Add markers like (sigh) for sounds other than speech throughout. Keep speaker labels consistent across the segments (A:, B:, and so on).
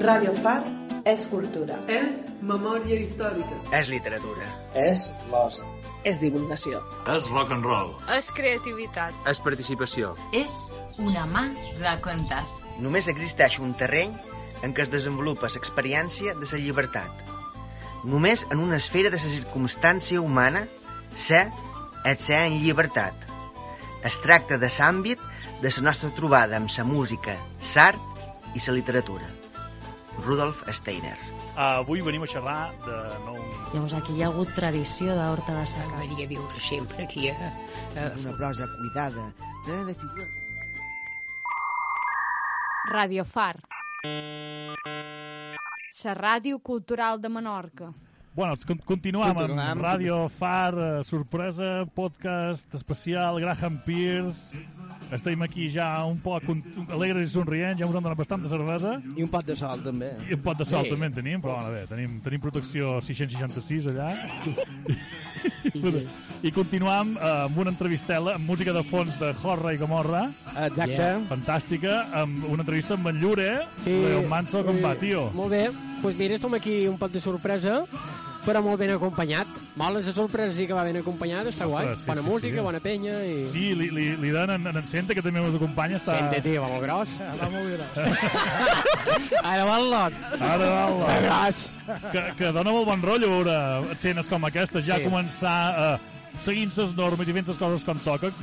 A: Radio Far és cultura.
B: És memòria històrica.
C: És literatura.
D: És l'oci.
E: És divulgació.
F: És rock and roll.
G: És creativitat.
H: És participació.
I: És una mà de contes.
C: Només existeix un terreny en què es desenvolupa l'experiència de la llibertat. Només en una esfera de la circumstància humana ser és ser en llibertat. Es tracta de l'àmbit de la nostra trobada amb la música, l'art i la literatura. Rudolf Steiner.
J: Uh, avui venim a xerrar de nou...
K: Llavors aquí hi ha hagut tradició d'Horta de Saca.
L: Maria viu sempre aquí a...
M: a... Una prosa cuidada,
H: eh,
M: plena de figura.
G: Radio Far. La ràdio cultural de Menorca.
J: Bueno, continuam, continuam. amb Ràdio Far, eh, sorpresa, podcast especial, Graham Pierce. Estem aquí ja un poc alegres i somrients, ja ens han donat bastanta cervesa.
D: I un pot de sol, també.
J: I un pot de sol, sí. també en tenim, però bueno, bé, tenim, tenim protecció 666 allà. Sí. I continuam amb una entrevistela amb música de fons de Horra i Gomorra.
D: Exacte. Yeah.
J: Fantàstica, amb una entrevista amb en Llure, sí. Leo Manso, com va, tio?
N: Molt bé, doncs pues mira, som aquí un poc de sorpresa però molt ben acompanyat. Mola la sorpresa sí que va ben acompanyat, està Ostres, guai. Sí, bona sí, música, sí. bona penya i...
J: Sí, li, li, li dan en, en Senta, que també us acompanya. Està...
N: Senta, tio, va molt gros.
D: Va molt gros.
N: (laughs) Ara va el lot.
J: (laughs) Ara va el lot.
N: Gros.
J: Que, que dona molt bon rotllo veure escenes com aquestes, ja sí. començar eh, seguint les normes i fent les coses com toca,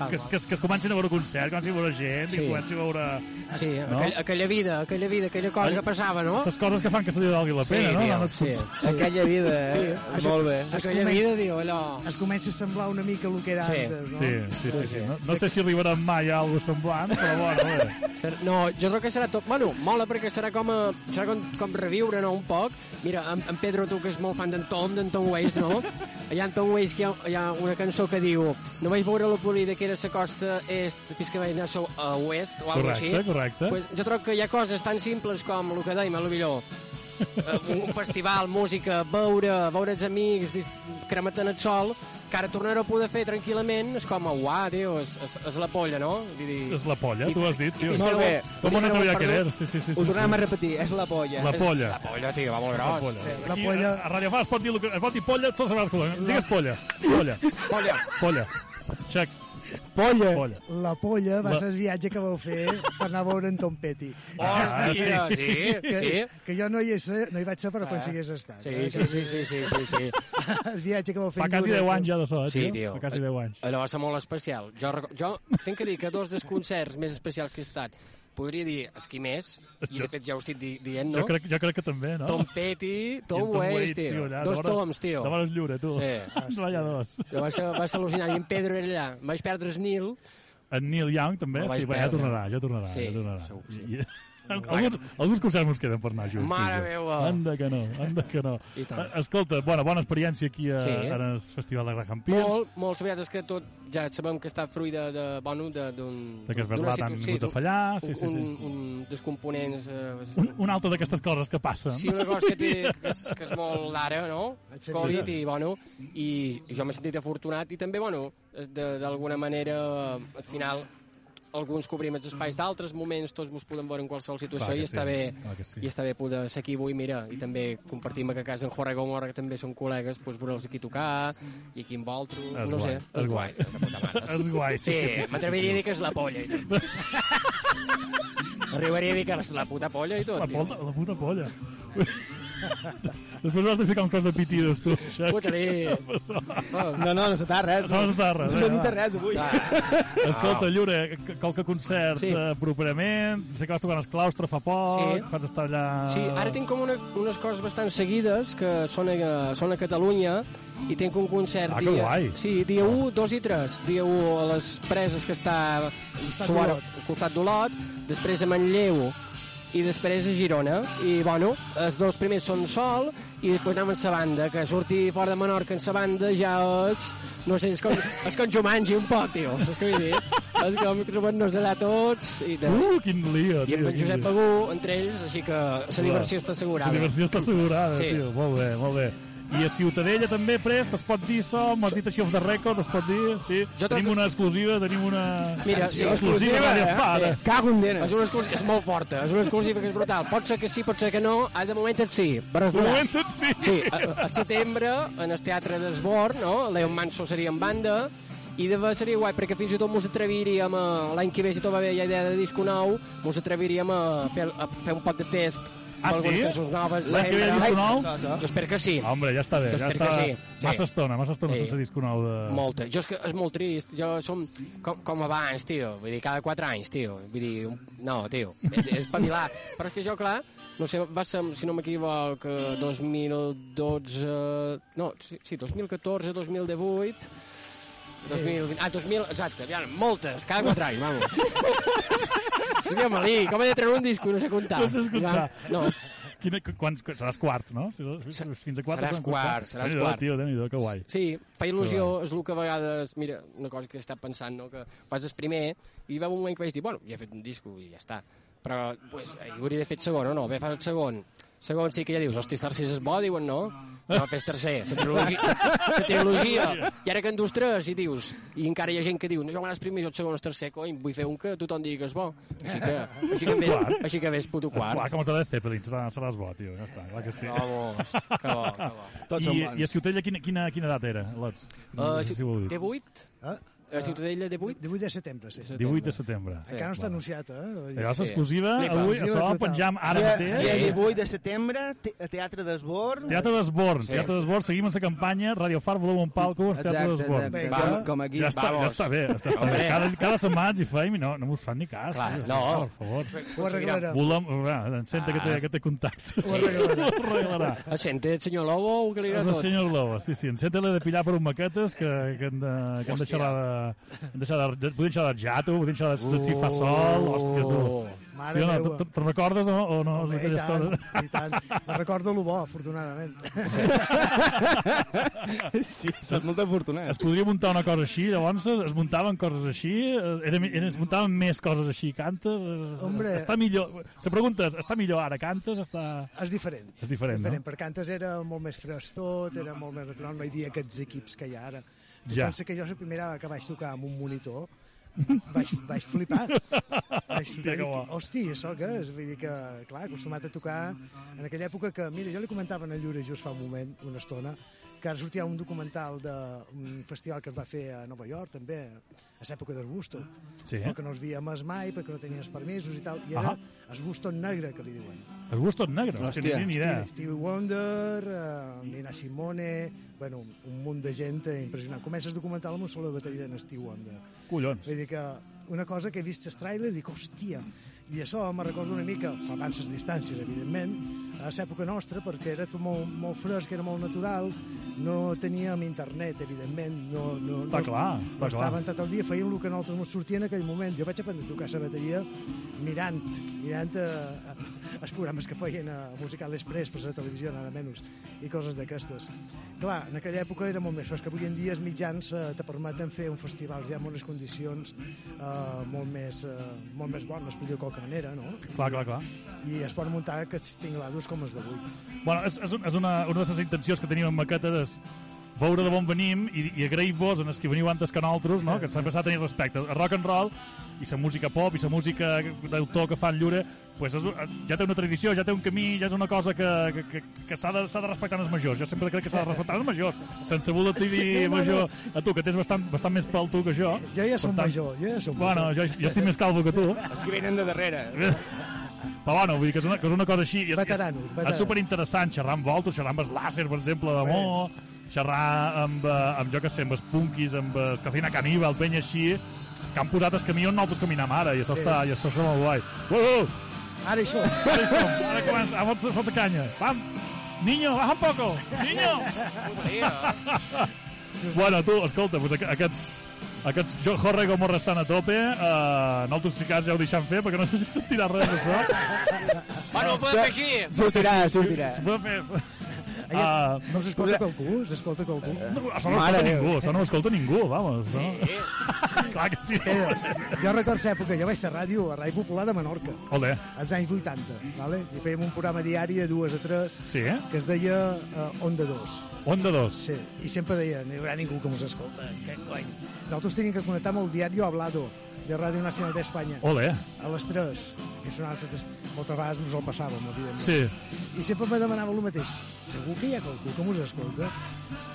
J: que, que, que es comencin a veure concerts, comencin a veure gent, sí. i comencin a veure...
N: Sí, no? aquella, aquella vida, aquella vida, aquella cosa Ai, que passava, no?
J: Les coses que fan que se li valgui la pena,
N: sí,
J: no?
N: Diu,
J: no?
N: Sí,
D: sí. Aquella vida, eh? Sí. Molt bé.
N: Es aquella comença, vida, diu, allò...
O: Es comença a semblar una mica el que era
J: sí.
O: antes, no?
J: Sí, sí, sí. sí, sí. No, no sé si arribarem mai a alguna semblant, però bueno...
N: Bé. No, jo crec que serà tot... Bueno, mola perquè serà com, a, serà com, com reviure, no?, un poc. Mira, en, en Pedro, tu que és molt fan d'en Tom, d'en Tom Waits,
J: (laughs)
N: no? Allà en Tom Waits hi ha, hi ha una cançó que diu no vaig veure la polida que era la costa est fins que vaig anar a oest o alguna
J: cosa així. Correcte,
N: Pues, jo trobo que hi ha coses tan simples com el que dèiem, a lo millor uh, un festival, música, veure, veure els amics, cremar-te'n el sol, que ara tornaré a poder fer tranquil·lament, és com, uà, tio, és, és, és la polla, no?
J: Dir, és la polla, tu ho has dit, tio.
D: Molt bé.
J: Com una polla que eres. Sí, sí, sí,
D: ho tornem a repetir, és la polla.
J: La polla.
N: La polla, tio, va molt gros.
J: La polla. Sí. La polla. A, a Radio Far es pot dir, que, es pot dir polla, tots sabràs que Digues polla. Polla.
N: Polla.
J: Polla. Check.
D: Polla.
J: polla.
O: La polla va la... ser el viatge que vau fer per anar a veure en Tom Petty.
N: Ah, sí, sí,
O: que,
N: sí.
O: Que jo no hi, ser, no hi vaig ser, però ah. quan s'hi hagués estat.
N: Sí, eh? sí, sí, sí, sí, sí, sí.
O: el viatge que vau fer...
J: Fa quasi 10 anys ja de so, eh,
N: sí, tio.
J: Fa quasi 10 anys.
N: Allò va ser molt especial. Jo, jo tinc que dir que dos dels concerts més especials que he estat podria dir esquí més, i de fet ja ho estic di dient, no?
J: Jo crec, jo crec que també, no?
N: Tom Petty, Tom, Tom Waits, tio. tio allà, dos toms, tio.
J: Demanes lliure, tu. (laughs)
N: Sí.
J: No hi ha dos.
N: Jo vaig, vaig al·lucinar, i en Pedro era allà. Em vaig perdre el Nil.
J: En Neil Young, també? Sí, va, ja tornarà, ja tornarà.
N: Sí,
J: ja tornarà.
N: segur que (laughs) sí.
J: Alguns, alguns concerts ens queden per anar junts.
N: Mare meva!
J: Anda que no, anda que no. Eh, Escolta, bona, bona experiència aquí a, sí. en el Festival de Graham Pierce.
N: Molt, molt sabiat, és que tot ja sabem que està fruit de, de bueno, d'un...
J: De que es verdad han vingut a fallar, sí, sí, sí.
N: Un, un dels components... Eh,
J: un, una altra d'aquestes coses que passen.
N: Sí, una
J: (laughs)
N: cosa que, té, que, és, que és molt d'ara, no? Covid i, bueno, i, i jo m'he sentit afortunat i també, bueno, d'alguna manera, al final, alguns cobrim els espais d'altres moments, tots ens podem veure en qualsevol situació i està, sí, bé, sí. i està bé poder ser aquí avui, mira, i també compartim que a casa en Jorge Gomorra, que també són col·legues, doncs veure'ls aquí tocar, i aquí amb vosaltres, no
J: guai,
N: sé, és guai. (laughs)
J: És guai, sí, sí, sí,
N: sí m'atreviria a dir que és la polla. (laughs) Arribaria a dir que és la puta polla i tot.
J: La, polla, la puta polla. Després vas de ficar un cos de pitidos, tu. (laughs)
N: Putre.
D: No, no, no se t'ha res.
J: No, no se t'ha res.
D: No
J: se
D: t'ha res avui. No.
J: Escolta,
N: Ah.
J: Llure, qualque concert sí. eh, properament, sé que vas tocar en el claustre fa poc, sí. vas estar allà...
N: Sí, ara tinc com una, unes coses bastant seguides que són a, són a Catalunya i tinc un concert
J: ah,
N: dia...
J: Guai.
N: Sí, dia 1, 2 i 3. Dia 1 a les preses que està... Suara, al costat d'Olot, després a Manlleu, i després a Girona. I, bueno, els dos primers són sol i després anem amb sa banda, que sortir fora de Menorca en sa banda ja és... No sé, és com, és com Jumanji un poc, tio, saps què vull dir? és com trobant-nos allà tots i de...
J: Uh, quin lío,
N: tio. I amb en Josep Agú, entre ells, així que la diversió està assegurada.
J: La diversió està assegurada, sí. tio, molt bé, molt bé. I a Ciutadella també, prest, es pot dir som, has dit així off the record, es pot dir, sí. Tenim una exclusiva, tenim una...
N: Mira, sí,
J: exclusiva, Radio Far.
N: eh? És una exclusiva, és molt forta, és una exclusiva que és brutal. Pot ser que sí, pot ser que no, ah, de moment et sí.
J: De
N: Barcelona.
J: moment et sí.
N: Sí, a, a setembre, en el teatre d'Esbor, no? Leon Manso seria en banda, i de seria guai, perquè fins i tot mos atreviríem a... L'any que ve, si tot va bé, hi ha idea de disco nou, mos atreviríem a fer, a fer un pot de test
J: Ah,
N: d'algunes
J: sí?
N: cançons noves.
J: L'any que ve hi ha disco nou?
N: Jo espero que sí.
J: Home, ja està bé,
N: Jo
J: ja està...
N: espero que sí. Sí.
J: Massa estona, massa estona
N: Sí.
J: sense disco nou de...
N: Molta. Jo és que és molt trist. Jo som com, com abans, tio. Vull dir, cada quatre anys, tio. Vull dir, un- no, tio. És- És espavilar. Però és que jo, clar, no sé, va ser, si no m'equivoc, eh, 2012... No, sí, sí 2014, 2018... 2020, ah, 2000, exacte, ja, moltes, cada quatre anys, vamos. Digue-me-li, com he de treure un disco i no sé comptar?
J: No saps comptar.
N: No,
J: Quina, quants, seràs quart, no? Si- si- Fins a quart.
N: seràs
J: són quatre.
N: quart, seràs
J: Déu-n'hi-do,
N: quart.
J: Tio, déu nhi que guai.
N: Sí, fa il·lusió, és el que a vegades... Mira, una cosa que he estat pensant, no? que fas el primer i va un moment que vaig dir, bueno, ja he fet un disco i ja està. Però, pues, eh, hi hauria de fer el segon o no? Bé, fas el segon. Segon sí que ja dius, hosti, Tarsis és bo, diuen, no? No, fes tercer, la trilogia. La trilogia. I ara que en dus tres i dius, i encara hi ha gent que diu, no, jo m'agrada el primer, jo el segon, el tercer, cony, vull fer un que tothom digui que és bo. Així que, així que,
J: És
N: ve,
J: quart.
N: així que ves puto
J: Quart.
N: quart.
J: Quart, com el de Zeppelin, serà, seràs bo, tio, ja està, clar que sí.
N: Vamos, que bo, que
J: (laughs)
N: bo. Tots
J: I,
N: són bons.
J: I a Ciutella quina, quina, quina edat era, Lots?
N: Uh,
J: No sé si ho heu dit.
N: de 8?
O: Eh?
N: A Ciutadella, de 8?
O: 18 de setembre, sí.
J: 18 de setembre.
O: Encara no està anunciat, eh?
J: Allò és exclusiva, avui
O: Sí, exclusiva
J: això ho
O: total.
J: penjam ara
O: Dia-
J: mateix.
O: dia
J: Sí.
O: 18
M: 8 de setembre, te a Teatre d'Esborn.
J: Teatre d'Esborn,
M: Sí.
J: sí. Teatre d'Esborn, seguim amb la campanya, Radio Far, voleu un palco,
M: Exacte,
J: Teatre d'Esborn.
M: exacte. Vinga. Com- com aquí.
J: Ja està, ja
M: Vamos.
J: està bé, ja està bé.
M: Hombre.
J: Cada, cada setmana ens hi feim i no, no us fan ni cas.
N: Clar,
J: tio,
N: no.
J: Per
N: Ho
J: favor.
N: arreglarem.
J: Volem, va, encenta que té,
N: Ah.
J: que té contacte.
N: Ho
J: arreglarà. (laughs) Ho arreglarà.
N: Sent el senyor Lobo o que li
J: És
N: dirà
J: el
N: tot?
J: senyor Lobo, sí, sí. Ens l'he de pillar per un maquetes que, que hem de, que hem de
N: Hòstia.
J: xerrar de... Hem de xerrar de podem xerrar de jato, podem xerrar de, de si fa sol, hòstia,
M: Uh.
J: tu.
O: Mare
J: Sí o no?
O: meua.
J: Te- Te'n recordes o, o no?
O: Home, i
J: d'aquelles
O: tant,
J: coses?
O: i tant. Me recordo lo bo, afortunadament.
J: (laughs) Sí, és molt afortunat. Es podria muntar una cosa així, llavors es, es muntaven coses així, eh, era, era, es muntaven més coses així, cantes, es, es,
O: Hombre.
J: està millor... Se preguntes, està millor ara, cantes, està...
O: És diferent.
J: És diferent,
O: diferent
J: no?
O: perquè antes era molt més fresc tot, era molt més natural, no hi havia aquests equips que hi ha ara. Tu
J: Ja.
O: ja. pensa que jo és la primera vegada que vaig tocar amb un monitor, vaig, vaig flipar. vaig
J: (laughs) Hòstia,
O: flipar.
J: que
O: Dic,
J: bo.
O: Hosti, això què és? Vull dir que, clar, acostumat a tocar en aquella època que, mira, jo li comentava a en Llure just fa un moment, una estona, que ara sortia un documental d'un festival que es va fer a Nova York, també, a l'època del Busto,
J: Sí.
O: però que no els veiem mai perquè no tenies permisos i tal, i
J: Ahà.
O: era ah. el Busto negre, que li diuen.
J: Es gusta tot negre, no,
O: Hòstia.
J: no ni idea.
O: Stevie, Stevie Wonder, uh, Nina Simone, bueno, un- un munt de gent impressionant. Comences a documentar amb un solo de bateria de Stevie Wonder.
J: Collons.
O: Vull dir que una cosa que he vist el trailer i dic, hòstia, i això me recorda una mica, salvant les distàncies, evidentment, a l'època nostra, perquè era tot molt, molt fresc, era molt natural, no teníem internet, evidentment, no, no,
J: Està
O: no,
J: clar,
O: no
J: està clar.
O: estàvem tot el dia, feien el que a nosaltres ens sortia en aquell moment. Jo vaig aprendre a tocar la bateria mirant, mirant eh, els programes que feien a Musical Express per la televisió, nada menys, i coses d'aquestes. Clar, en aquella època era molt més fresc, avui en dia els mitjans eh, te permeten fer un festival ja amb unes condicions eh, molt, més, eh, molt més bones, per dir-ho de qualque manera, no?
J: Clar, clar, clar.
O: I es pot muntar aquests tinglados com els d'avui.
J: Bueno, és, és, un- és una, una de les intencions que tenim amb Maqueta és veure de bon venim i, i agrair-vos en els que veniu antes que nosaltres, no? que s'ha passat a tenir respecte. El rock and roll i la música pop i la música d'autor que fan Llure pues és, un- ja té una tradició, ja té un camí, ja és una cosa que, que, que, que s'ha de, s'ha de respectar en els majors. Jo sempre crec que s'ha de respectar en els majors, sense voler t'hi dir
O: No, no,
J: major
O: no.
J: a tu, que tens bastant, bastant més pèl tu que jo.
O: Jo
J: Per
O: ja som
J: tant,
O: major, jo ja som
J: Bueno,
O: major.
J: jo, jo estic més calvo que tu.
E: Els que venen de darrere.
J: Però bueno, vull dir que és una, que és una cosa així. i És,
O: Veteranos,
J: és, és
O: veteranos.
J: superinteressant xerrar amb Volto, xerrar amb el Láser, per exemple, d'amor, xerrar amb, eh, amb, jo que sé, amb els Punkis, amb eh, els Cafina Caníbal, penya així, que han posat el camí on nosaltres caminam ara, i això
O: Sí.
J: està, i això està molt guai. Uh, uh!
O: Ara hi som.
J: Ara hi som, ara comença, a fotre, fotre canya. Vam, niño, baja un poco, niño! (laughs) bueno, tu, escolta, doncs aqu- aquest, aquests jo, Jorge Gomorra estan a tope, eh, nosaltres si cas ja ho deixem fer, perquè no sé si sentirà res d'això.
N: Bueno, ho podem fer així.
J: Sortirà, sortirà. Si podem fer...
O: Allà,
J: Ah, no sé,
O: escolta
J: escolta-
O: qualcú? S'escolta qualcú?
J: No, això no ho escolta ningú, això no ho escolta ningú, vamos. No? (laughs) Clar que sí.
O: Jo recordo l'època, jo vaig fer ràdio a Ràdio Popular de Menorca,
J: Olé.
O: als anys 80, vale? i fèiem un programa diari de dues a tres
J: Sí, eh?
O: que es deia eh, Onda 2.
J: Onda 2.
O: Sí, i sempre deien, no hi haurà ningú que mos escolta, que guany. Nosaltres tenim que connectar amb el diari Hablado, de Ràdio Nacional d'Espanya.
J: Olé.
O: A les 3, que sonaven les 3. Moltes vegades mos el passàvem, evidentment.
J: Sí.
O: I sempre me demanava el mateix. Segur que hi ha qualcú que mos escolta?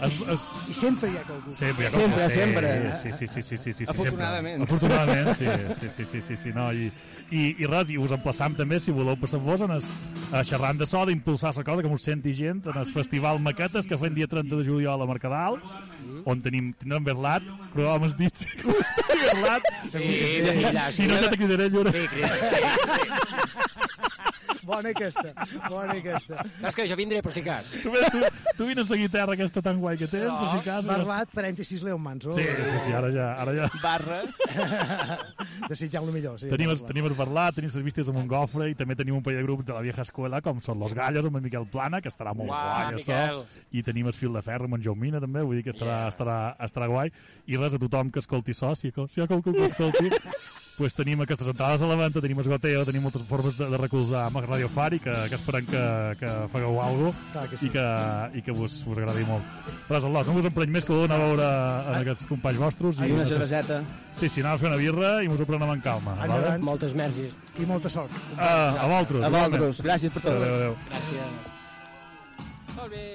J: Es, es...
O: I sempre hi ha qualcú.
J: Sempre, hi ha
D: Sempre,
J: sí,
D: sempre.
J: Sí, sí, sí, sí, sí, sí, sí
D: Afortunadament.
J: Sempre. Afortunadament, sí, sí, sí, sí, sí, sí no, i, i, i res, i us emplaçam també, si voleu, per favor, en es, a xerrant de so, d'impulsar la cosa, que mos senti gent, en el Festival Maquetes, que fem dia 30 de juliol a Mercadal, on tenim, tindrem Berlat, però home, has dit, (laughs) Berlat,
O: Sí,
J: si,
O: sí, ja,
J: si no ja te cridaré, Llura. Sí,
O: Bona aquesta, bona aquesta.
N: Saps que jo vindré, per si cas.
J: Tu, tu, tu vines la guitarra aquesta tan guai que tens, per si cas...
O: Barlat, parèntesis, Leon oh. Manso.
J: Ah, Sí,
O: (laughs)
J: sí, sí, ara ja, ara ja.
O: Barra. Desitjant lo millor, sí.
J: Tenim, els,
O: Barlat.
J: tenim el Berlà, tenim les vistes amb un gofre i també tenim un parell de grups de la vieja escuela com són Los Gallos amb en Miquel Plana, que estarà molt
N: Uah,
J: guai,
N: Miquel.
J: això. I tenim el Fil de Ferro amb en Jou Mina, també, vull dir que estarà, yeah. estarà, estarà guai. I res, a tothom que escolti això, si, si hi ha qualcú que escolti, pues tenim aquestes entrades a la venda, tenim esgoteo, tenim moltes formes de, de recolzar amb Radio Fari, que, que esperem que, que fagueu alguna
O: Clar que
J: cosa
O: sí.
J: i que, i que vos, vos agradi molt. Res, Alòs, no us empreny més que vau anar a veure en aquests companys vostres.
O: Ah,
D: I una
J: nosaltres-
D: cerveseta.
J: Sí, sí, anem a fer una birra i mos ho prenem en calma.
O: Endavant.
N: Moltes mergis.
O: I molta sort.
J: Uh, a vosaltres.
D: A
J: igualment.
D: vosaltres. Gràcies per tot.
J: Adéu, adéu.
N: Gràcies. Molt bé.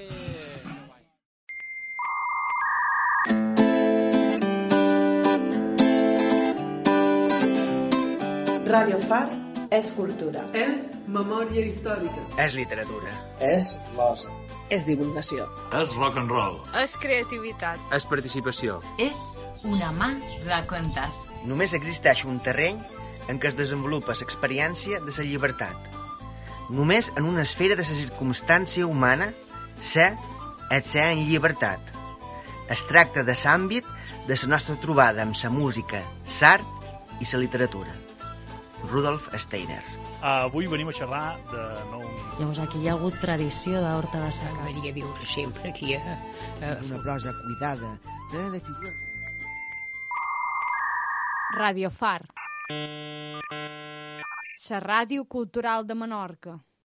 A: Radio Far és cultura.
B: És memòria històrica.
C: És literatura.
E: És l'osa.
L: És divulgació.
F: És rock and roll.
I: És creativitat.
C: És participació.
I: És una mà de contes.
C: Només existeix un terreny en què es desenvolupa l'experiència de la llibertat. Només en una esfera de la circumstància humana, ser és ser en llibertat. Es tracta de l'àmbit de la nostra trobada amb la música, l'art i la literatura. Rudolf Steiner.
J: Uh, avui venim a xerrar de... No,
K: Llavors aquí hi ha hagut tradició d'Horta Bassaca.
L: Maria viure sempre aquí a... a...
H: Eh, Una prosa cuidada, plena de figures.
G: Radio Far. La ràdio cultural de Menorca.